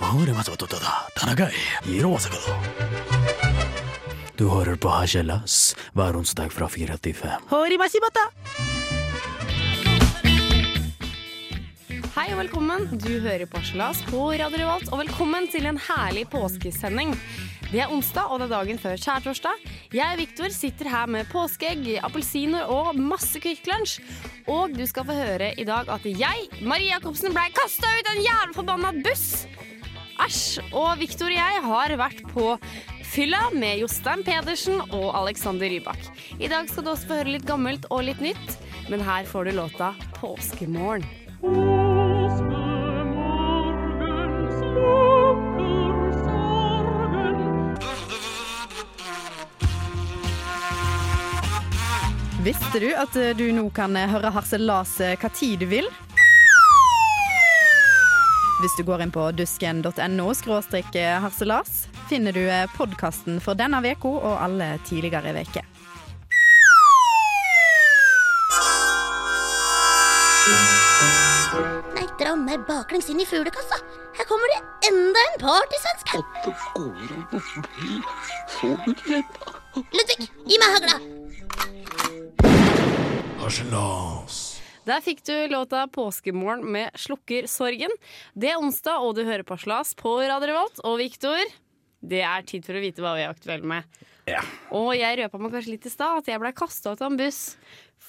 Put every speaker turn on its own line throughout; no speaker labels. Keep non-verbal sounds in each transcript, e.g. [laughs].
Ahora más batutada, Tanagai, Hiroasakado. Du hører på Hasjelas hver onsdag fra fire til fem.
Hei og velkommen. Du hører på Harselas på Radio Revolt, og velkommen til en herlig påskesending. Det er onsdag, og det er dagen før skjærtorsdag. Jeg, Viktor, sitter her med påskeegg, appelsiner og masse Kvikk Lunsj. Og du skal få høre i dag at jeg, Marie Jacobsen, blei kasta ut av en jævla forbanna buss! Æsj. Og Victor og jeg har vært på fylla med Jostein Pedersen og Alexander Rybak. I dag skal du også få høre litt gammelt og litt nytt, men her får du låta 'Påskemorgen'.
Visste du at eh, du nå kan eh, høre Harselas eh, hva tid du vil? Hvis du går inn på dusken.no skråstrek harselas, finner du eh, podkasten for denne veka og alle tidligere veker.
Nei, dra meg baklengs inn i fuglekassa. Her kommer det enda en partysvensk. Ludvig, gi meg hagla.
Der fikk du låta 'Påskemorgen' med 'Slukker sorgen'. Det er onsdag, og du hører på Slas på Radio Revolt. Og Viktor, det er tid for å vite hva vi er aktuelle med.
Ja.
Og jeg røpa meg kanskje litt i stad at jeg blei kasta ut av en buss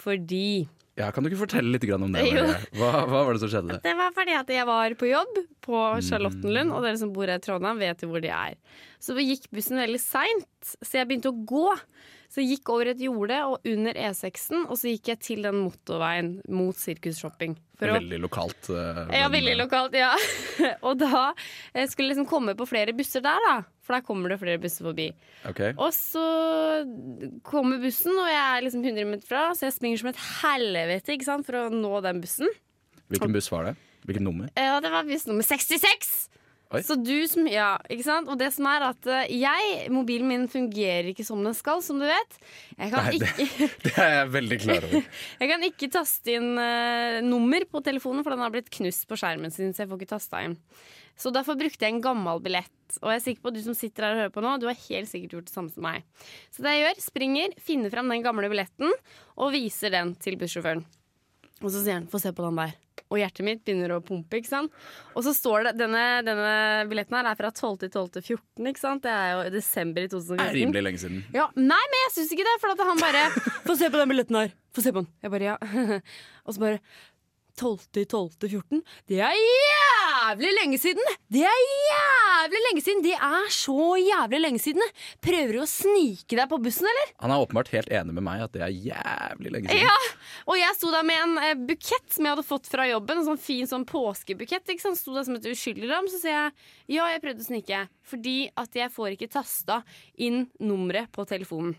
fordi
Ja, Kan du ikke fortelle litt grann om det?
[laughs] Jo.
Marie? Hva, hva var det som skjedde? Mm.
Det var fordi at jeg var på jobb på Charlottenlund, og dere som bor her i Trondheim, vet jo hvor det er. Så vi gikk bussen veldig seint, så jeg begynte å gå. Så jeg gikk over et jorde og under E6-en, og så gikk jeg til den motorveien mot Sirkus Shopping. For å
Veldig lokalt. eh,
Ja,
men-
veldig lokalt, ja. [laughs] og da eh, skulle jeg liksom komme på flere busser der, da. For der kommer det flere busser forbi.
Ok.
Og så kommer bussen, og jeg er liksom 100 meter fra, så jeg springer som et helvete ikke sant, for å nå den bussen.
Hvilken buss var det? Hvilket nummer?
Ja, det var buss nummer 66!
Oi.
Så du som, ja, ikke sant? Og det som er at eh, jeg, mobilen min fungerer ikke som den skal, som du vet. Jeg kan,
Nei, det-
ikke,
Det er jeg veldig klar over.
jeg kan ikke taste inn eh, nummer på telefonen, for den har blitt knust på skjermen sin, så jeg får ikke tasta inn. Så derfor brukte jeg en gammel billett. Og jeg er sikker på at du som sitter her og hører på nå, du har helt sikkert gjort det samme som meg. Så det jeg gjør, springer, finner fram den gamle billetten og viser den til bussjåføren. Og så sier han 'få se på den der'. Og hjertet mitt begynner å pumpe. ikke sant? Og så står det, Denne, denne billetten her er fra 12 til 12 til 14. ikke sant? Det er jo desember i
Det er
2014.
rimelig lenge siden.
Ja, nei, men jeg syns ikke det, for at han bare [laughs] Få se på den billetten her. Få se på den. Jeg bare, ja. [laughs] Og så bare 12. 12. 14. Det er jævlig lenge siden! Det er jævlig lenge siden! Det er så jævlig lenge siden! Prøver du å snike deg på bussen, eller?
Han er åpenbart helt enig med meg at det er jævlig lenge siden.
Ja, og jeg sto der med en eh, bukett som jeg hadde fått fra jobben. En sånn fin sånn påskebukett. Ikke sant? Sto der som et uskyldig lam. Så sier jeg ja, jeg prøvde å snike. Fordi at jeg får ikke tasta inn nummeret på telefonen.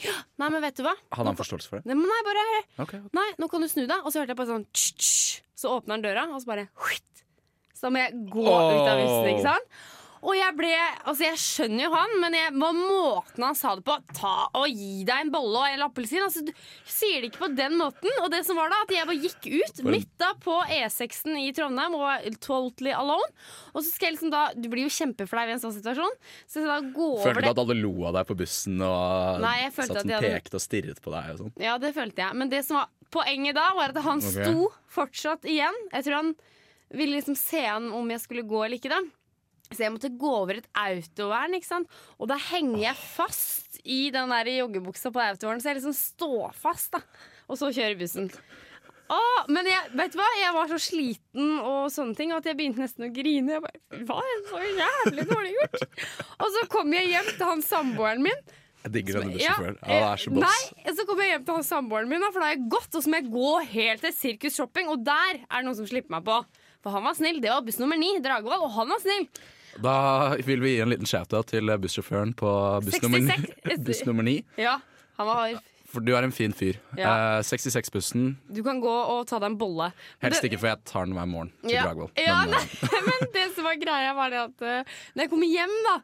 «Ja, Nei, men vet du hva?
Hadde han forståelse for det?
Nei, men nei, bare
Ok, ok.
Nei, nå kan du snu deg. Og så hørte jeg bare sånn tss, tss. Så åpner han døra, og så bare huitt. Så da må jeg gå ut av huset, ikke sant? Og jeg ble Altså, jeg skjønner jo han, men jeg var måten han sa det på. Ta og gi deg en bolle og en appelsin. Altså, du sier det ikke på den måten. Og det som var da, at jeg bare gikk ut
For en-
midt da på E6-en i Trondheim og var totally alone. Og så skal jeg liksom da Du blir jo kjempeflau i en sånn situasjon. Så jeg da gå over
Følte
det
du at alle lo av deg på bussen og
Nei, jeg følte
satt
at
som
de hadde-
pekte og stirret på deg og sånn?
Ja, det følte jeg. Men det som var poenget da, var at han
Ok.
sto fortsatt igjen. Jeg tror han ville liksom se an om jeg skulle gå eller ikke. da Så jeg måtte gå over et autovern, ikke sant? og da henger jeg fast i den der joggebuksa på autovernet. Så jeg liksom står fast, da. Og så kjører bussen. Åh, men jeg, vet du hva? jeg var så sliten og sånne ting at jeg begynte nesten å grine. Jeg bare, hva? Så jævlig dårlig gjort. Og så kom jeg hjem til han samboeren min.
Jeg digger
Ja,
denne
eh,
bussjåføren. Ja, han er så boss.
Nei, så kommer jeg hjem til han samboeren min, da, for da har jeg gått, og så må jeg gå helt til Sirkus Shopping, og der er det noen som slipper meg på. For han var snill. Det var buss nummer ni, Dragvoll, og han var snill.
Da vil vi gi en liten shout-out til bussjåføren på buss nummer,
66.
buss nummer 9.
Ja, han var
for du er en fin fyr.
Ja.
Eh, 66-bussen.
Du kan gå og ta deg en bolle. Men
Helst
det-
ikke, for jeg tar den hver morgen til
Ja.
Dragvoll.
Ja,
Men,
nei,
eh,
[laughs] men det som var greia, var det at eh, når jeg kommer hjem da,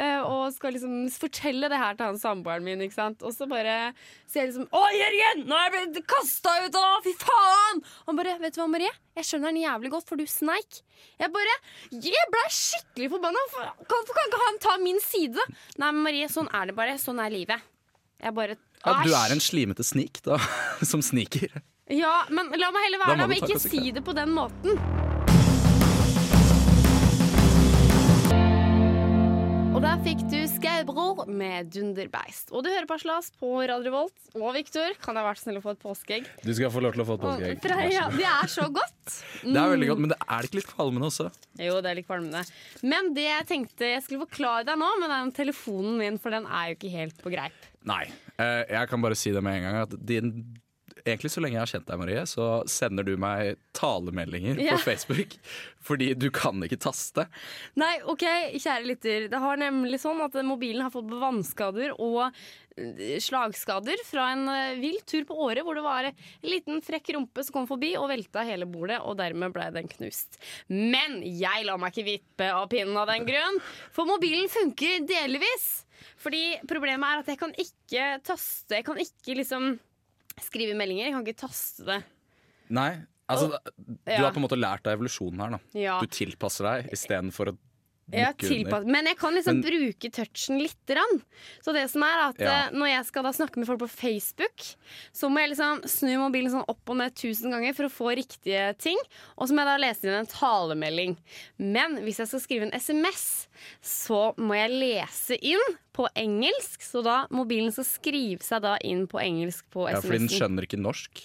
eh, og skal liksom fortelle det her til han samboeren min, ikke sant? og så bare sier jeg liksom Å, Jørgen! Nå er jeg blitt kasta ut av Fy faen! Han bare Vet du hva, Marie? Jeg skjønner den jævlig godt, for du sneik. Jeg bare Jeg blei skikkelig forbanna! for- Kan, kan ikke han ta min side? Nei, men Marie, sånn er det bare. Sånn er livet. Jeg bare
ja, du
Æsj!
er en slimete snik, da. [laughs] Som sniker.
Ja, men la meg heller
Da
være
må
det, men
du ta
ikke
konsekvensen.
si det på den måten. Og der fikk du Skaubror med Dunderbeist. Og du hører på Slas på Radio Volt. Og Victor, kan jeg være så snill å få et påskeegg?
Du skal få lov til å få et påskeegg.
Fra- Ja, det er så godt.
[laughs]
Mm.
Det er veldig godt, men det er det ikke litt kvalmende også?
Jo, det er litt kvalmende. Men det jeg tenkte jeg skulle forklare deg nå, med den telefonen min, for den er jo ikke helt på greip.
Nei. Eh, jeg kan bare si det med en gang. At din, egentlig så lenge jeg har kjent deg, Marie, så sender du meg talemeldinger
Ja.
på Facebook. Fordi du kan ikke taste.
Nei, ok, kjære lytter. Det har nemlig sånn at mobilen har fått vannskader og eh, slagskader fra en eh, vill tur på Åre, hvor det var en liten frekk rumpe som kom forbi og velta hele bordet, og dermed ble den knust. Men jeg lar meg ikke vippe av pinnen av den grunn, for mobilen funker delvis. Fordi problemet er at jeg kan ikke taste, jeg kan ikke liksom skrive meldinger, jeg kan ikke taste det.
Nei. Altså, du
ja.
har på en måte lært deg evolusjonen her. da
Ja.
Du tilpasser deg istedenfor å
Jeg
bukke under.
tilpass, men jeg kan liksom
Men-
bruke touchen litt. Rann. Så det som er at
Ja.
eh, Når jeg skal da snakke med folk på Facebook, så må jeg liksom snu mobilen sånn opp og ned tusen ganger for å få riktige ting. Og så må jeg da lese inn en talemelding. Men hvis jeg skal skrive en SMS, så må jeg lese inn på engelsk. Så da mobilen skal skrive seg da inn på engelsk på
Ja, fordi
SMS-en.
den skjønner ikke norsk.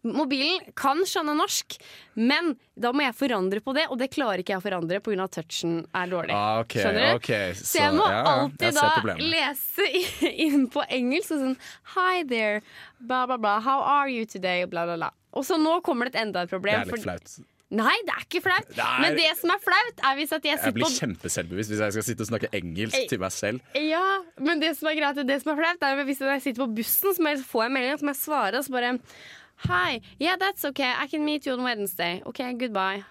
Mobilen kan skjønne norsk, men da må jeg forandre på det, og det klarer ikke jeg å forandre pga. at touchen er dårlig.
Ah, ok,
Skjønner du?
ok, så,
Så jeg må
ja, ja, jeg
alltid
ser
da
problemet.
lese i- inn på engelsk og sånn Hi there, bla, bla, bla. How are you today? Bla, bla, bla. Og så nå kommer det et enda et
Det
problem.
er litt
for-
flaut.
Nei, det er ikke flaut.
Det er-
Men det som er flaut, er hvis at jeg
Jeg
sitter
blir
på
kjempeselvbevisst hvis jeg skal sitte og snakke
Ei.
engelsk til meg selv.
Ja, men det som er greit, det som er flaut, er hvis jeg sitter på bussen, så må jeg få en melding, så må jeg svare, og så bare Hi, yeah, that's okay. I can meet you on Wednesday. Ok, goodbye.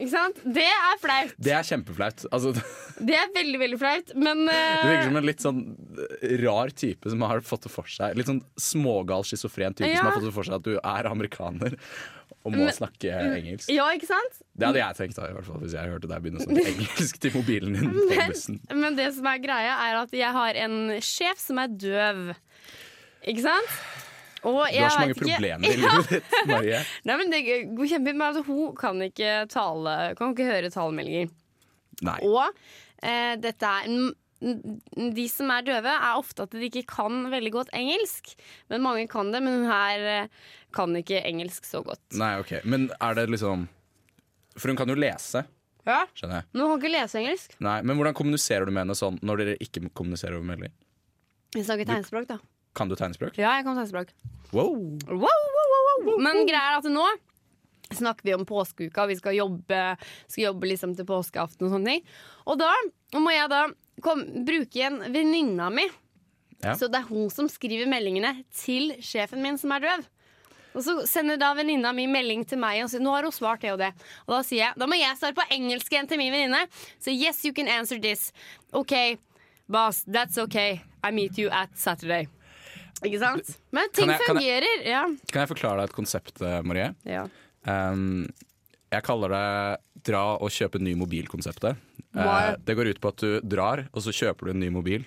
Ikke sant? Det er flaut.
Det er kjempeflaut. Altså, [laughs] det
Det er veldig, veldig flaut, men eh,
virker som en litt sånn rar type som har fått det for seg. Litt sånn smågal, schizofren type
Ja.
som har fått det for seg at du er amerikaner og må snakke engelsk.
Ja, ikke sant?
Det hadde jeg tenkt da, i hvert fall hvis jeg hørte deg begynne å
[laughs]
snakke engelsk til mobilen din på
Men,
bussen.
men det som er greia, er at jeg har en sjef som er døv. Ikke sant? Og
Du
jeg
har så mange
vet ikke- [laughs]
problemer i livet ditt, Marie.
Nei, men det går kjempefint, men altså, hun kan ikke tale, kan ikke høre talemeldinger.
Nei.
Og eh, dette er n- n- de som er døve, er ofte at de ikke kan veldig godt engelsk. Men mange kan det, men hun her eh, kan ikke engelsk så godt.
Nei, ok. Men er det liksom For hun kan jo lese,
Ja.
skjønner jeg.
Men hun kan ikke lese engelsk.
Nei, Men hvordan kommuniserer du med henne sånn når dere ikke kommuniserer over melding?
Hun snakker tegnspråk, da.
Kan du tegnspråk?
Ja, jeg kan tegnspråk.
Wow!
Wow, wow, wow, wow. Men greia er at nå snakker vi om påskeuka, vi skal jobbe, skal jobbe liksom til påskeaften og sånne ting. Og da må jeg da kom, bruke igjen venninna mi.
Ja.
Så det er hun som skriver meldingene til sjefen min som er døv. Og så sender da venninna mi melding til meg og sier nå har hun svart det og det. Og da sier jeg da må jeg svare på engelsk igjen til min venninne. Så yes, you can answer this. OK, boss, that's OK. I meet you at Saturday. Ikke sant? Men ting
jeg- kan jeg-
fungerer. Ja.
Kan jeg forklare deg et konsept, eh, Marie?
Ja.
Um, jeg kaller det dra og kjøpe ny mobil-konseptet.
Wow.
Eh, det går ut på at du drar, og så kjøper du en ny mobil.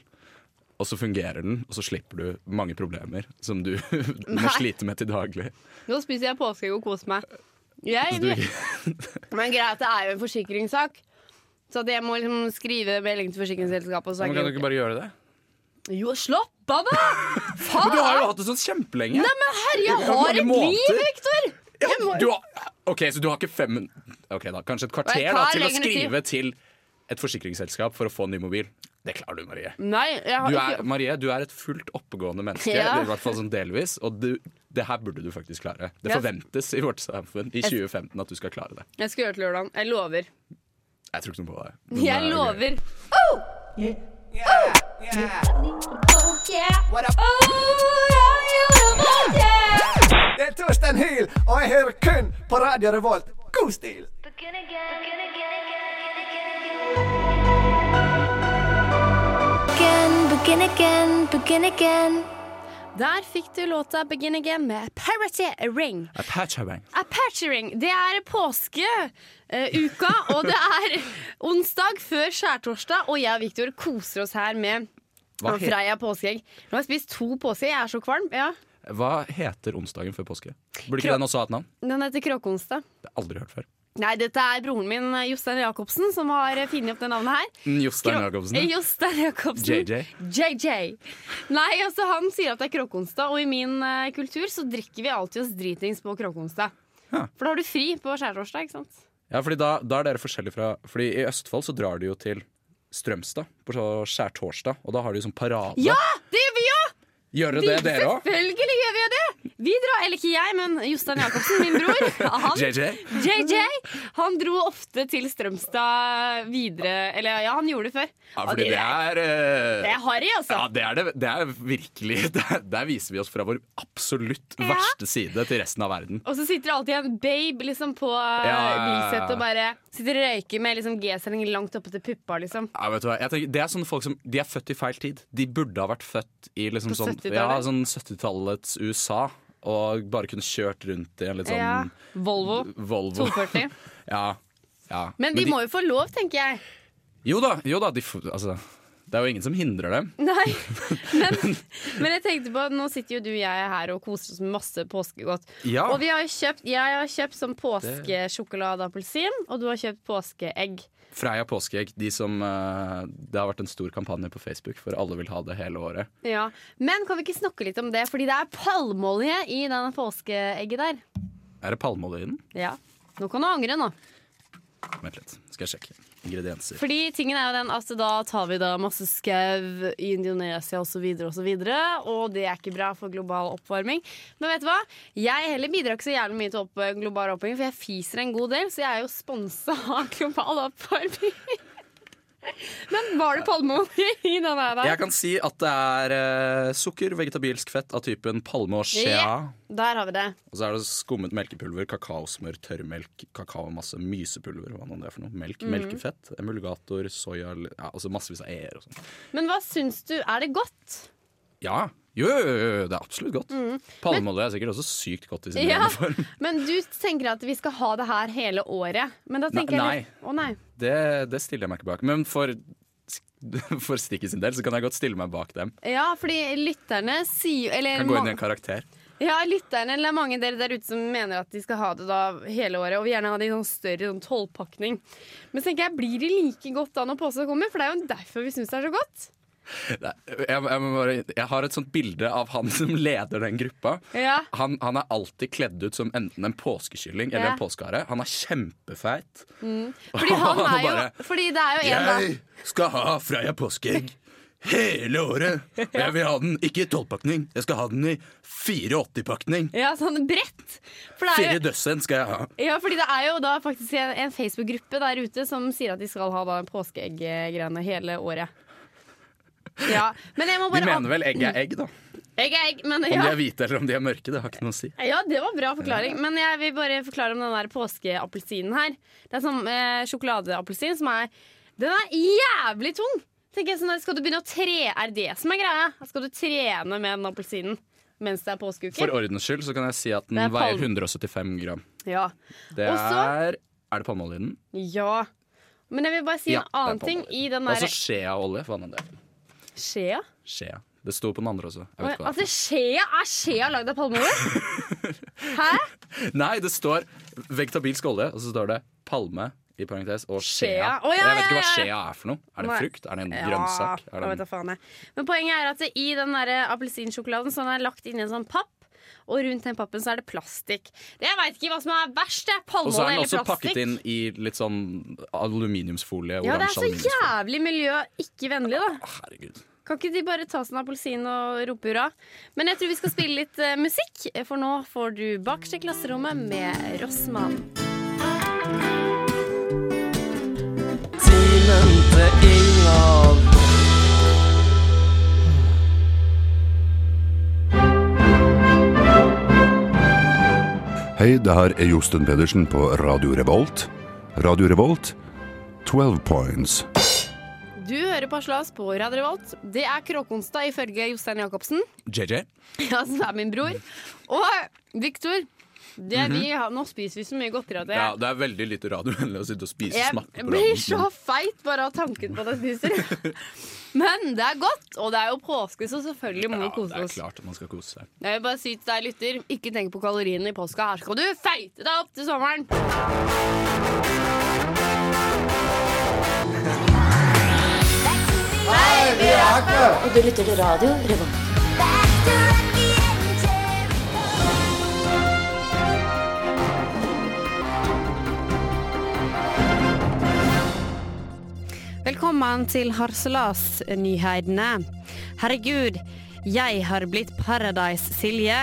Og så fungerer den, og så slipper du mange problemer som du [laughs] må slite med til daglig.
Nå spiser jeg påskeegg og koser meg. Jeg,
Så du, ikke-
men greia er at det er jo en forsikringssak. Så at jeg må liksom skrive melding til forsikringsselskapet. Og så er
Men kan du
ikke-
ikke bare gjøre det?
Jo, slapp
[laughs]
av, da! Faen!
Du har jo hatt det sånn kjempelenge!
Nei, men herre,
Det
jeg
er mange
har et liv,
måneder.
Victor! Jeg må...
Du har, ok, Så du har ikke fem min- Ok da, Kanskje et
Et
kvarter da,
par
til å
lengre tid.
skrive til et forsikringsselskap for å få ny mobil. Det klarer du, Marie.
Nei, jeg har
Du er,
ikke
Marie, du er et fullt oppegående menneske,
Ja.
i hvert fall sånn delvis. Og du, det her burde du faktisk klare. Det
Ja.
forventes i vårt samfunn i 2015 at du skal klare det.
Jeg skal gjøre det til lørdag. Jeg lover.
Jeg tror ikke noe på det. [laughs] men det er
Jeg
gøy.
lover.
Oh yeah. Oh, yeah.
Det er Torstein Hyl, og jeg hører kun på Radio Revolt. God stil!
Again, begin again, begin again.
Der fikk du låta 'Begin Again' med Parity Ring. Apache Ring. Det er påskeuka, og det er onsdag før skjærtorsdag, og jeg og Viktor koser oss her med eh,
Hva he-
Freia påskeegg. Nå har jeg spist to påskeegg, jeg er så kvalm. Ja.
Hva heter onsdagen før påske? Burde
Kro-
ikke den også ha et navn?
Den heter kråkeonsdag.
Det har jeg aldri hørt før.
Nei, dette er broren min eh, Jostein Jacobsen som har eh, funnet opp det navnet her.
Mm, Jostein Jacobsen.
Eh, [laughs] Jostein Jacobsen.
JJ.
JJ. Nei, altså han sier at det er kråkeonsdag, og i min eh, kultur så drikker vi alltid oss dritings på kråkeonsdag. For da har du fri på skjærtorsdag, ikke sant?
Ja, fordi da, da er dere forskjellige fra Fordi i Østfold så drar de jo til Strømstad på så- skjærtorsdag, og da har de jo sånn parade.
Ja, det gjør vi òg!
Gjør dere det, dere òg?
Selvfølgelig gjør vi jo det! Vi drar, eller ikke jeg, men Jostein Jacobsen, min
[laughs]
bror, han
JJ?
JJ han dro ofte til Strømstad videre Eller ja, han gjorde det før.
Ja,
Og
fordi det er eh,
det er harry, altså.
Ja, det er, det, det er virkelig [laughs] der, der viser vi oss fra vår absolutt
Ja.
verste side til resten av verden.
Og så sitter det alltid en babe liksom, på
ja, ja.
bilsettet og bare sitter og røyker med liksom, G-sending langt oppe til puppa. Liksom.
Ja, vet du hva? Jeg tenker, det er sånne folk som De er født i feil tid. De burde ha vært født i liksom
På
sånn
70-tallet?
ja, sånn 70-tallets USA. Og bare kunne kjørt rundt i en litt sånn
Ja. Volvo
Volvo. [laughs]
240.
Ja, ja.
Men de må jo få lov, tenker jeg.
Jo da, jo da de, får- altså, det er jo ingen som hindrer dem. [laughs]
Nei, men, men jeg tenkte på at Nå sitter jo du og jeg her og koser oss med masse påskegodt.
Ja.
Og vi har jo kjøpt, jeg har kjøpt sånn påskesjokoladeappelsin, og du har kjøpt påskeegg.
Freia påskeegg, de som eh, Det har vært en stor kampanje på Facebook for alle vil ha det hele året.
Ja. Men kan vi ikke snakke litt om det? Fordi det er palmeolje i den påskeegget der.
Er det palmeolje i den?
Ja. Nå kan du angre, nå.
Vent litt, skal jeg sjekke. Ingredienser.
Fordi tingen er jo den at da tar vi da masse skau i Indonesia osv., og, så videre, og det er ikke bra for global oppvarming. Men vet du hva? Jeg heller bidrar ikke så jævlig mye til opp global oppvarming, for jeg fiser en god del, så jeg er jo sponsa av global oppvarming. [laughs] Men var det palmeolje i den her?
Jeg
Der?
kan si at det er eh, sukker, vegetabilsk fett av typen palme og skjea.
Ja. der har vi det.
Og så er det skummet melkepulver, kakaosmør, tørrmelk, kakaomasse, mysepulver, hva nå det er for noe. Melk,
Mm.
melkefett, emulgator, soya, ja, altså massevis av eier og sånn.
Men hva syns du? Er det godt?
Ja, jo, jo, jo, jo, det er absolutt godt. Palmeolje er sikkert også sykt godt i sin
Mm. Ja.
rene form.
Men du tenker at vi skal ha det her hele året. Men da tenker
Nei,
jeg Å nei.
Det, det stiller jeg meg ikke bak. Men for, [laughs] for Stikki sin del så kan jeg godt stille meg bak dem.
Ja, fordi lytterne sier eller
Kan gå inn
ma-
i en karakter.
Ja, lytterne, eller mange av dere der ute som mener at de skal ha det da hele året, og vil gjerne ha det i sånn større sånn tolvpakning. Men så tenker jeg, blir det like godt da når påsken kommer? For det er jo derfor vi syns det er så godt.
Nei, jeg, jeg, må bare, jeg har et sånt bilde av han [laughs] som leder den gruppa.
Ja.
Han, han er alltid kledd ut som enten en påskekylling eller
Ja. Mm.
en påskehare. Han er kjempefeit. [laughs]
Fordi han
Og
er jo
bare,
Fordi det er jo en der.
Jeg skal ha Freia påskeegg hele året. Og jeg vil ha den ikke i tolvpakning, jeg skal ha den i 84-pakning.
Ja, sånn bredt. For det er
Fire
jo,
dødsend skal jeg ha.
ja, fordi det er jo da faktisk en, en Facebook-gruppe der ute som sier at de skal ha da påskeegg-greiene hele året. Ja, men jeg må
De
bare
mener vel egg er egg, da.
Egg er egg, men
Om
ja.
de er hvite eller om de er mørke, det har ikke noe å si.
Ja, det var bra forklaring. Men jeg vil bare forklare om den der påskeappelsinen her. Det er sånn eh, sjokoladeappelsin som er Den er jævlig tung! Tenker jeg sånn der, Skal du begynne å tre... Er det som er greia? Skal du trene med den appelsinen mens det er påskeuke?
For ordens skyld så kan jeg si at den
Det er
veier
palm-
175 gram.
Ja.
Det
Og så-
er Er det palmeolje i den?
ja. Men jeg vil bare si
Ja,
en
det er
annen ting
palmeolje.
i den
Og så
derre
skjeaolje. Hva er det?
skjea.
Skjea. Det sto på den andre også. Jeg vet ikke hva det
Altså, skjea er skjea lagd av palmeolje? Hæ?
er. Nei, det står vegetabilsk olje, og så står det palme i parentes og skjea.
Skjea. Å, ja,
Og jeg vet ikke
ja,
hva
ja,
skjea er for noe. Er det en
Nei.
frukt? Er det en grønnsak?
jeg
Er
vet da
det en...
faen jeg. Men poenget er at det- i den der eh, appelsinsjokoladen så den er lagt inn i en sånn papp. Og rundt den pappen så er det plastikk. Det Jeg veit ikke hva som er verst. det er
Og
Palmeolje
så er den
eller
også
plastikk.
pakket inn i litt sånn aluminiumsfolie.
ja, det er
oransje
så
aluminiumsfolie.
jævlig miljø ikke vennlig, da.
Å, Herregud.
Kan ikke de bare ta seg en appelsin og rope hurra? Men jeg tror vi skal spille litt eh, musikk, for nå får du Bakerst i klasserommet med Rossmann.
Timen til Ingvar.
Hei, det her er Josten Pedersen på Radio Revolt. Radio Revolt, 12 points.
Du hører på Slas på Radio Revolt. Det er Kråkonsdag ifølge Jostein Jacobsen,
JJ?
ja, som er min bror. Og Victor. Det vi har, nå spiser vi så mye godteri at jeg,
Mhm. Ja, det er veldig lite radiovennlig å sitte og spise og smakke
jeg
på
blir
radioen.
så feit bare av tanken på at jeg spiser. [laughs] Men det er godt, og det er jo påske, så selvfølgelig må vi
Ja,
kose
det er
oss.
klart at man skal kose seg.
Jeg vil bare si til deg, lytter, ikke tenk på kaloriene i påska. Her skal du feite deg opp til sommeren!
Og du lytter til radio Revolt.
Velkommen til Harselas-nyhetene. Herregud, jeg har blitt Paradise-Silje,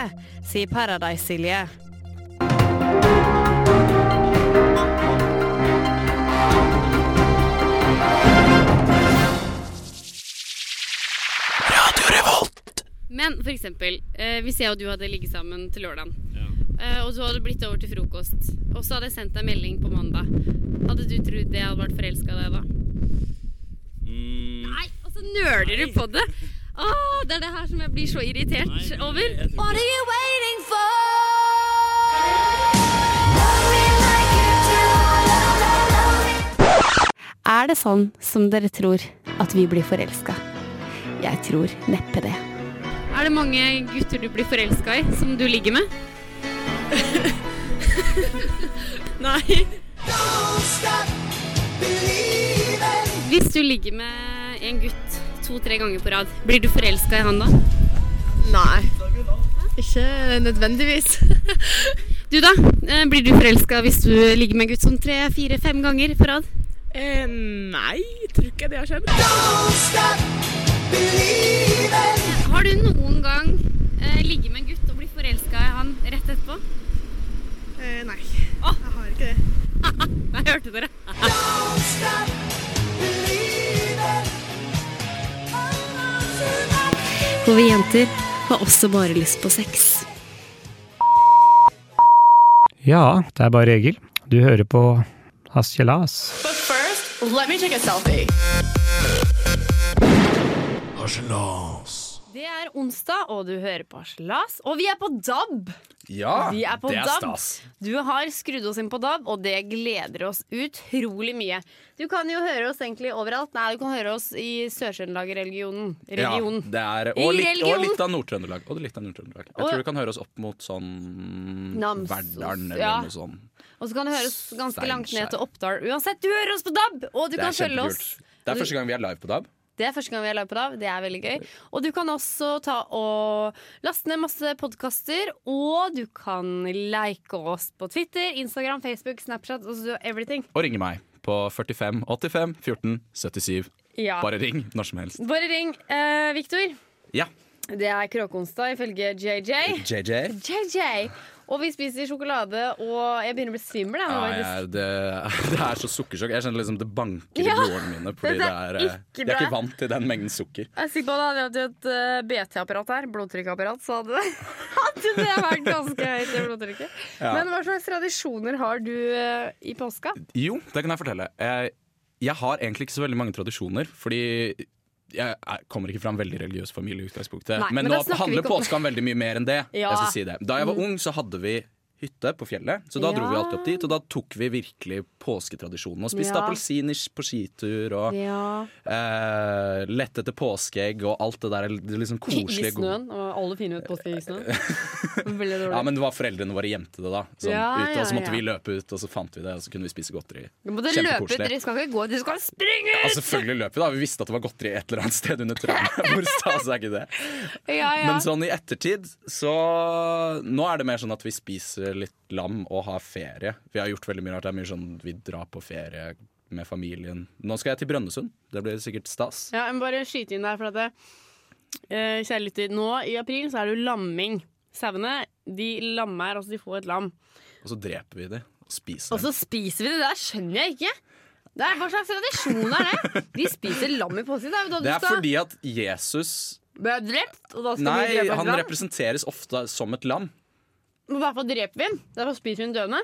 sier Paradise-Silje. Men for eksempel, eh, hvis jeg og du hadde ligget sammen til lørdagen, eh, og så hadde du blitt over til frokost, og så hadde jeg sendt deg melding på mandag, hadde du trodd det jeg hadde vært forelska i deg da? Nei, altså nøler du på det? Åh, det er det her som jeg blir så irritert over. What are you waiting for? Er det sånn som dere tror at vi blir forelska? Jeg tror neppe det. Er det mange gutter du blir forelska i, som du ligger
[laughs]
med? Nei. Hvis du ligger med en gutt to-tre ganger på rad, blir du forelska i han da?
Nei. Ikke nødvendigvis. [laughs]
Du da? Eh, Blir du forelska hvis du ligger med en gutt sånn tre-fire-fem ganger på rad?
Eh, nei, jeg tror ikke det har skjedd.
Har du noen gang eh, ligget med en gutt og blitt forelska i han rett etterpå?
Eh, nei, jeg har ikke det.
[laughs] Nei, hørte dere? For vi jenter har også bare lyst på sex.
Ja, det er bare Egil. Du hører på Hasjelas.
But first, let me take a selfie.
Det er onsdag, og du hører på Slas. Og vi er på DAB!
Ja,
Vi er på
Ah, det er
DAB.
stas.
Du har skrudd oss inn på DAB, og det gleder oss utrolig mye. Du kan jo høre oss egentlig overalt. Nei, du kan høre oss i Sør-Trøndelag-regionen. Regionen.
Ja, det er,
I
og, litt, og
religion.
litt av Nord-Trøndelag. Og litt av Nord-Trøndelag. Jeg
Og-
tror du kan høre oss opp mot sånn
Namsos,
Verdalen eller
ja.
noe sånt.
Og så kan du høre oss ganske langt ned
Steinkjer.
til Oppdal. Uansett, du hører oss på DAB! Og du
Det
kan
er
følge oss.
kjempekult. Det er første gang vi er live på DAB.
Det er første gang vi er live på DAB. Det er veldig gøy. Og du kan også ta og laste ned masse podkaster. Og du kan like oss på Twitter, Instagram, Facebook, Snapchat og everything.
Og ringe meg på 45 85 14 77.
Ja.
Bare ring når som helst.
Bare ring. Eh, Victor,
Ja.
det er kråkeonsdag ifølge JJ.
JJ.
JJ! Og vi spiser sjokolade, og jeg begynner å bli svimmel. Jeg, nå,
Ja,
faktisk.
jeg, det, det [laughs] er så sukkersjokk. Jeg kjenner liksom det banker
Ja,
i blodårene mine. Fordi det
dette er
er, eh,
ikke
jeg er
bra.
ikke vant til den mengden sukker.
jeg er sikker på at hadde jeg hatt et eh, BT-apparat her, blodtrykkapparat, så hadde [laughs] det, hadde det vært ganske høyt. det blodtrykket. Men hva slags tradisjoner har du eh, i påska?
Jo, det kan jeg fortelle. Jeg, jeg har egentlig ikke så veldig mange tradisjoner, fordi jeg er- kommer ikke fra en veldig religiøs familie. i utgangspunktet
Nei,
Men,
men da
nå
snakker vi
handler
ikke om-
påska om veldig mye mer
[laughs]
enn det.
Ja. Mm.
Jeg skal si det. Da jeg var ung, så hadde vi hytte på fjellet, så da dro vi
Ja.
alltid opp dit. Og da tok vi virkelig påsketradisjonen og spiste
Ja.
appelsiner på skitur og
Ja,
eh, lette etter påskeegg og alt det der det liksom koselige. gode-
Snøen. Og alle fine ut påske i
[laughs]
snøen. Veldig dårlig.
Ja, men det var foreldrene våre gjemte det da. Sånn,
Ja,
ute, og så
ja,
måtte
ja.
vi løpe ut, og så fant vi det, og så kunne vi spise godteri.
Du må dere løpe ut, dere skal ikke gå, dere skal springe!
Ja, Altså, selvfølgelig løp vi da. Vi visste at det var godteri et eller annet sted under trærne. [laughs] Hvor stas er ikke det?
Ja, ja.
Men sånn i ettertid, så Nå er det mer sånn at vi spiser litt lam og har ferie. Vi har gjort veldig mye rart. Det er mye sånn vi drar på ferie med familien. Nå skal jeg til Brønnøysund. Det blir sikkert stas.
Ja, jeg må bare skyte inn der, for at det, eh, kjære lytter, nå i april så er det jo lamming. Sauene de lammer, altså de får et lam.
Og så dreper vi det og spiser
Og
det.
så spiser vi det der, skjønner jeg ikke! Det er, hva slags tradisjon er det? De spiser lam i påsken. Det er jo da du
Det er
skal
fordi at Jesus
bli drept, og da skal du
Nei,
drepe et
han
lam.
representeres ofte som et lam.
Men Derfor dreper vi den. Derfor spiser vi den døende.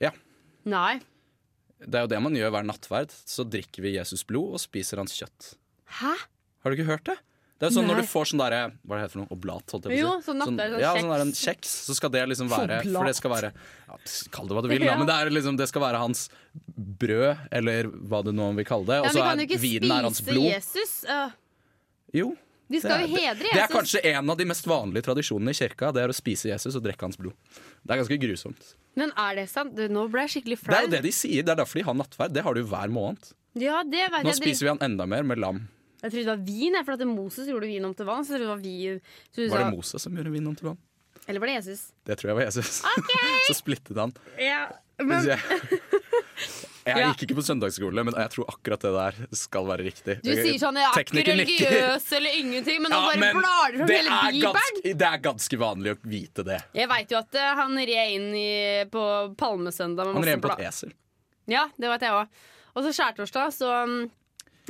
Ja.
Nei.
Det er jo det man gjør hver nattverd. Så drikker vi Jesus blod og spiser hans kjøtt.
Hæ?
Har du ikke hørt det? Det er jo sånn
Nei.
Når du får sånn derre Hva er det heter for noe? Oblat? Holdt jeg på å si.
Jo, sånn nattverd, sånn
ja,
kjeks.
sånn der en kjeks. Så skal det liksom være For det skal være ja, Kall det hva du vil, da,
Ja.
men det, er liksom, det skal være hans brød, eller hva du nå vil kalle det.
Ja,
Og
men vi
så
kan jo
er
ikke
vinen er hans
spise
blod.
Jesus. øh.
Jo.
Vi skal jo
det, er-
hedre Jesus.
det er kanskje en av de mest vanlige tradisjonene i kirka. Det er å spise Jesus og drikke hans blod. Det er ganske grusomt.
Men er det sant? Du, nå ble jeg skikkelig
Det
flau.
er jo det de sier. Det er derfor de har nattverd. Det har du hver måned.
Ja, det vet
Nå
jeg.
spiser vi han enda mer med lam.
Jeg trodde det var vin, jeg, for at Moses gjorde vin om til vann. Så jeg trodde det var vin. Så du
Var
sa-
det Moses som gjorde vin om til vann?
Eller var det Jesus?
Det tror jeg var Jesus. [laughs] Så splittet han.
Ja, [laughs]
Mens
men
jeg jeg
Ja.
gikk ikke på søndagsskole, men jeg tror akkurat det der skal være riktig.
Du sier sånn jeg er ikke
Teknikken nikker.
religiøs eller ingenting, men nå
Ja,
bare
men
blar du om
det
hele
er
Bibelen.
ganske- Det er ganske vanlig å vite det.
Jeg veit jo at eh, han red inn i, på Palmesøndag med
Han
masse
ren på
blad.
et esel.
Ja, det vet jeg òg. Og så skjærtorsdag, så mm,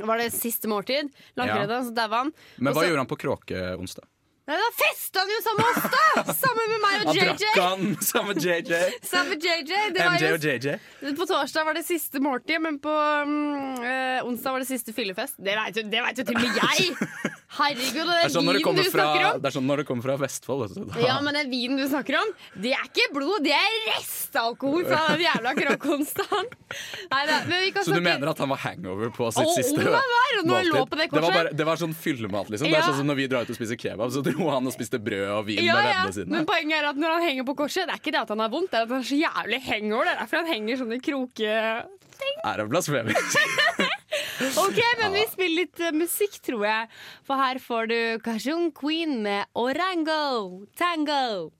var det siste måltid. Langfredag, så daua han.
Men
Og
hva
så-
gjorde han på kråkeonsdag?
Nei, Da festa han jo sammen med oss, da! Sammen med meg
Han
og
drakk
JJ.
han [laughs] sammen
[laughs]
med JJ.
Sammen med JJ. Det var
MJ
jo
og JJ.
På torsdag var det siste måltid, men på mm, eh, onsdag var det siste fyllefest. Det veit jo, det vet jo til og med jeg! Herregud, og
Det er
den
sånn når det
vinen
kommer
du snakker
fra,
om.
det er sånn når det kommer fra Vestfold. altså. vet du. Da-
Ja, men den vinen du snakker om, det er ikke blod, det er restalkohol fra den jævla kråkeonsdagen. Neida, men vi kan
[laughs] Så du
snakke-
mener at han var hangover på sitt
Å,
siste
Olav var, og når jeg lå på det
var,
korset.
bare, det var sånn fyllemat, liksom. Det er
Ja.
sånn som når vi drar ut og spiser kebab, så dro han og spiste brød og vin
ja,
med
ja.
vennene sine.
Men poenget er at når han henger på korset, det er ikke det at han har vondt, det er at han er så jævlig hangover. Det er derfor han henger sånn i kroke...
Er han blasfemisk?
Ok, men vi spiller litt eh, musikk, tror jeg. For her får du Kajun Queen med Orango Tango.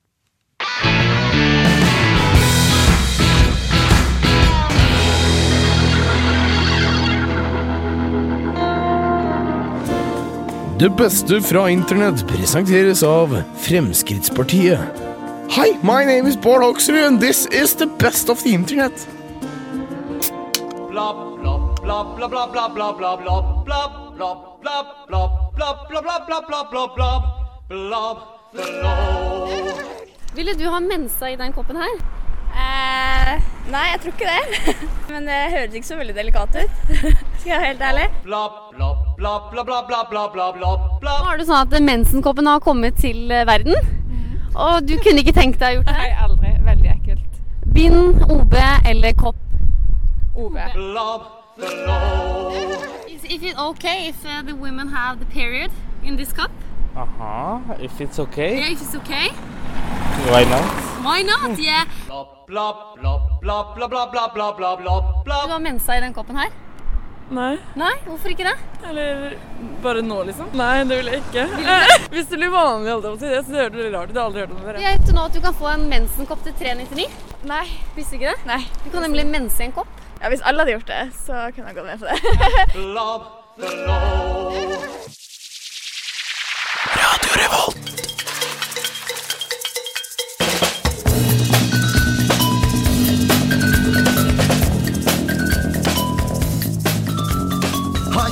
Det beste fra internett presenteres av Fremskrittspartiet. Hi, my name is Bård Hoksrud, and this is the best of the internet.
Bla, bla, bla, bla, bla, bla, bla, bla, bla, bla, bla, bla, bla, bla, bla, bla, bla, bla, bla, bla, bla, bla.
Ville du ha mensa i den koppen her?
Eh, nei, jeg tror ikke det. [laughs] Men det høres ikke så veldig delikat ut. [laughs] Skal jeg være helt ærlig?
Bla, bla, bla, bla, bla, bla, bla, bla, bla, bla.
Nå er det sånn at mensenkoppen har kommet til eh, verden. Og du kunne ikke tenkt deg å gjort det? Nei, aldri. Veldig ekkelt. Bind, OB eller kopp? OB. Is, is it okay if uh, the women have the period in this cup?
Aha, if it's okay
Yeah, if it's okay.
right now.
Why not? Yeah.
Bla, bla, bla, bla, bla, bla, bla, bla, bla.
Du har mensa i den koppen her?
Nei.
Nei, hvorfor ikke det?
Eller bare nå, liksom? Nei, det vil jeg ikke.
Vil du ikke?
Eh, [laughs] Hvis det blir vanlig, holdt jeg på å si. Jeg synes det høres veldig rart ut. Jeg har aldri hørt om det før. jeg.
Jeg vet nå at du kan få en mensenkopp til 399. Nei. Visste ikke det? Nei. Du kan nemlig mense en kopp.
Ja, Hvis alle hadde gjort det, så kunne jeg gått med på det.
Bla, bla.
Hei,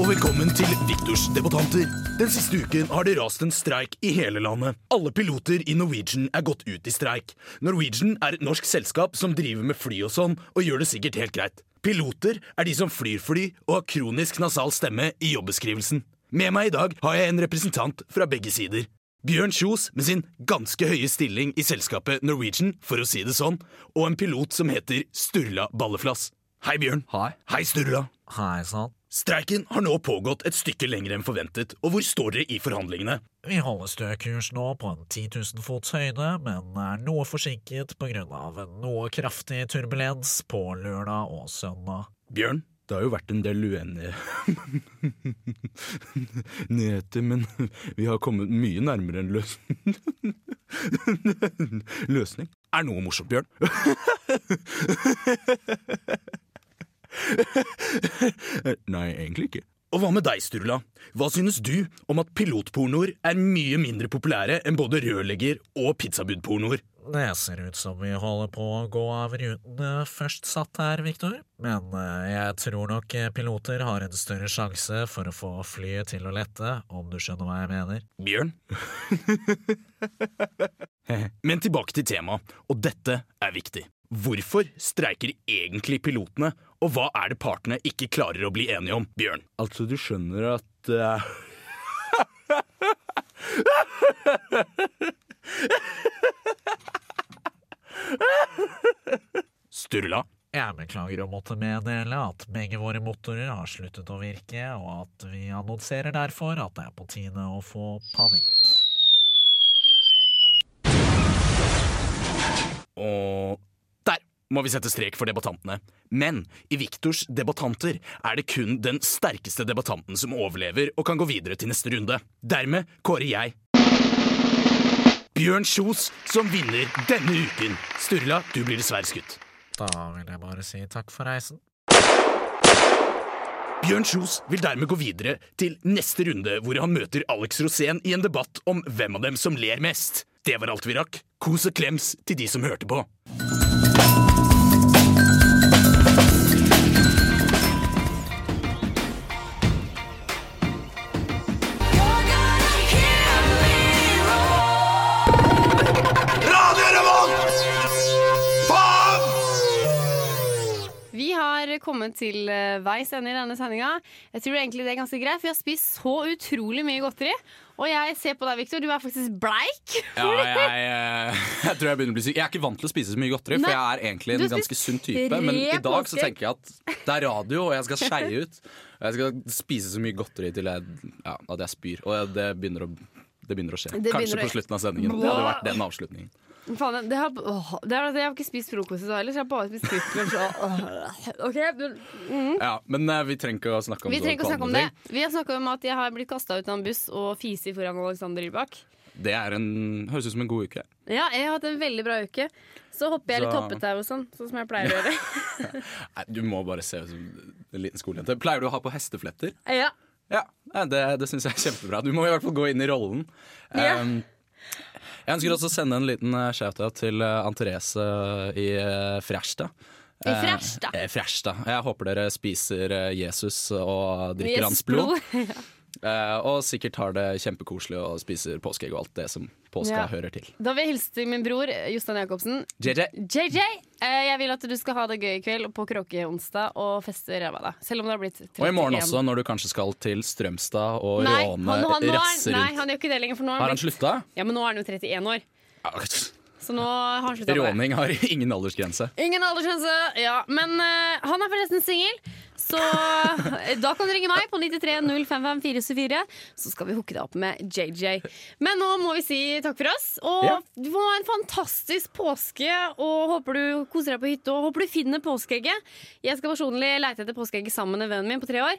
og velkommen til Viktors debattanter. Den siste uken har det rast en streik i hele landet. Alle piloter i Norwegian er gått ut i streik. Norwegian er et norsk selskap som driver med fly og sånn, og gjør det sikkert helt greit. Piloter er de som flyr fly og har kronisk nasal stemme i jobbeskrivelsen. Med meg i dag har jeg en representant fra begge sider. Bjørn Kjos med sin ganske høye stilling i selskapet Norwegian, for å si det sånn, og en pilot som heter Sturla Balleflass. Hei, Bjørn. Hei. Hei, Sturla.
Hei sann.
Streiken har nå pågått et stykke lenger enn forventet, og hvor står dere i forhandlingene?
Vi holder stø kurs nå på en 10 000 fots høyde, men er noe forsinket på grunn av en noe kraftig turbulens på lørdag og søndag.
Bjørn, det har jo vært en del uenige [laughs] nyheter, men vi har kommet mye nærmere en løs [laughs] løsning. Er noe morsomt, Bjørn? [laughs] Nei, egentlig ikke. Og hva med deg, Sturla? Hva synes du om at pilotpornoer er mye mindre populære enn både rørlegger- og pizzabudpornoer?
Det ser ut som vi holder på å gå av ruten eh, først satt her, Victor. Men eh, jeg tror nok eh, piloter har en større sjanse for å få flyet til å lette, om du skjønner hva jeg mener.
Bjørn? [laughs] Men tilbake til temaet, og dette er viktig. Hvorfor streiker egentlig pilotene, og hva er det partene ikke klarer å bli enige om, Bjørn? Altså, du skjønner at eh, Sturla?
Jeg beklager å måtte meddele at begge våre motorer har sluttet å virke, og at vi annonserer derfor at det er på tide å få panikk.
Og der må vi sette strek for debattantene. Men i Viktors debattanter er det kun den sterkeste debattanten som overlever og kan gå videre til neste runde. Dermed kårer jeg Bjørn Kjos som vinner denne uken. Sturla, du blir dessverre skutt.
Da vil jeg bare si takk for reisen.
Bjørn Kjos vil dermed gå videre til neste runde, hvor han møter Alex Rosén i en debatt om hvem av dem som ler mest. Det var alt vi rakk. Kos og klems til de som hørte på.
Radio Revolt! Faen!
Vi har kommet til eh, veis ende i denne sendinga. Jeg tror egentlig det er ganske greit, for jeg har spist så utrolig mye godteri. Og jeg ser på deg, Victor, du er faktisk bleik.
Ja, jeg, eh, [laughs] jeg tror jeg begynner å bli syk. Jeg er ikke vant til å spise så mye godteri, for
Nei.
jeg er egentlig
Du
en
har
ganske
spist
sunn type.
tre
Men i dag så
påskeegg.
tenker jeg at det er radio, og jeg skal skeie ut. Og jeg skal spise så mye godteri til jeg, ja, at jeg spyr. Og det begynner å, det begynner å skje.
Det begynner
Kanskje
å-
på slutten av sendingen. Det hadde vært den avslutningen.
[laughs] Faen, det har, åh, det er, altså, jeg har ikke spist frokost i dag heller, så jeg har bare spist fruktlunsj. og- åh, ok, du- mhm.
Ja, men eh, vi trenger ikke å snakke om
Vi
det.
trenger ikke å
på
snakke om
andre
det. Vi har snakka om at jeg har blitt kasta ut av en buss og fisi foran Alexander Rybak.
ting. Det er en, høres ut som en god uke.
Ja, jeg har hatt en veldig bra uke. Så hopper jeg litt
Så-
hoppetau og sånn, sånn som jeg pleier
[laughs]
å gjøre.
Nei, du må bare se ut som en liten skolejente. Pleier du å ha på hestefletter?
ja.
Ja, nei, det, det syns jeg er kjempebra. Du må i hvert fall gå inn i rollen.
Ja.
Ehm, jeg ønsker også å sende en liten eh, shout-out til eh, Ann Therese i uh, Fræsjta.
I Fræsjta?
Eh, eh, Fræsjta. Jeg håper dere spiser eh, Jesus og drikker hans
Jesus
blod.
blod. [laughs] Ja.
[laughs] Eh, og sikkert har det kjempekoselig og spiser påskeegg og alt det som påska
Ja.
hører til.
Da vil jeg hilse til min bror Jostein Jacobsen.
JJ,
JJ, eh, jeg vil at du skal ha det gøy i kveld på Kråkeonsdag og feste ræva av deg. Selv om det har blitt 31.
og i morgen også, når du kanskje skal til Strømstad og
Nei,
råne
han, han, nå er-
rasse
Nei,
rundt.
han gjør ikke det lenger. For nå
Har han
blitt-
slutta?
Ja, men nå er han jo 31 år. Så nå har han slutta. med det.
Råning har [laughs] ingen aldersgrense.
Ingen aldersgrense. Ja, men eh, han er forresten singel. Så eh, da kan du ringe meg på 93 055 474, så skal vi hooke deg opp med JJ. Men nå må vi si takk for oss. Og
Ja.
du må ha en fantastisk påske. Og håper du koser deg på hytta, og håper du finner påskeegget. Jeg skal personlig leite etter påskeegget sammen med vennen min på tre år.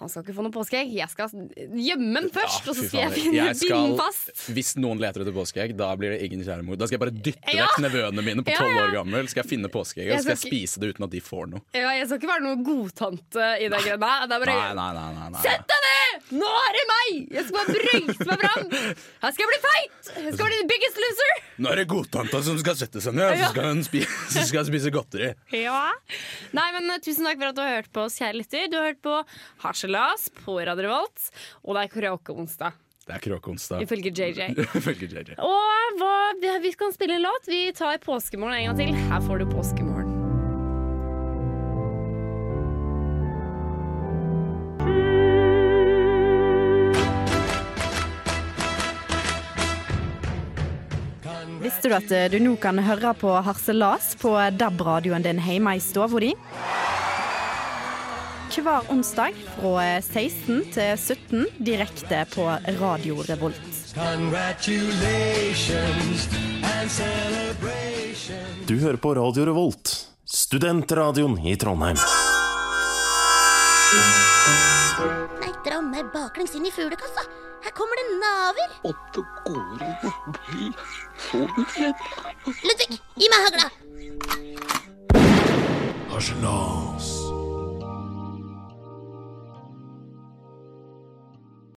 Han skal ikke få noe påskeegg. Jeg skal gjemme den først, og så
Fy
skal jeg
fader.
finne
Jeg skal-
binden fast.
Hvis noen leter etter påskeegg, da blir det ingen kjære mor. Da skal jeg bare dytte
Ja.
vekk nevøene mine på
Ja,
tolv år
ja.
gammel. Skal jeg finne påskeegg, og
Jeg
så skal jeg
skal ikke-
spise det uten at de får noe.
Ja, jeg skal ikke være noen godtante i det greia. Nei, det er bare
Nei, nei, nei, nei, nei.
Sett deg ned! Nå er det meg! Jeg skal bare brøyte meg fram. Her skal jeg bli feit! Jeg skal bli the biggest loser.
Nå er det godtanta som skal sette seg ned, og
Ja.
så skal hun spise, [laughs] så skal hun spise godteri.
Ja. Nei, men eh, Tusen takk for at du har hørt på oss, kjære lytter. Du har hørt på Harselas på Radio Revolt, og det er karaokeonsdag,
Det er kråkeonsdag.
ifølge JJ.
[laughs] Ifølge JJ.
Og hva, vi kan spille en låt. Vi tar Påskemorgen en gang til. Her får du Påskemorgen.
Visste du at eh, du nå kan høre på Harselas på DAB-radioen din hjemme i stua di? Hver onsdag fra 16 til 17 direkte på Radio Revolt.
Congratulations and celebrations.
Du hører på Radio Revolt, studentradioen i Trondheim.
Nei, dra meg baklengs inn i fuglekassa. Her kommer det naver.
Åtte går i bli solfred.
Ludvig, gi meg hagla.
Harselas.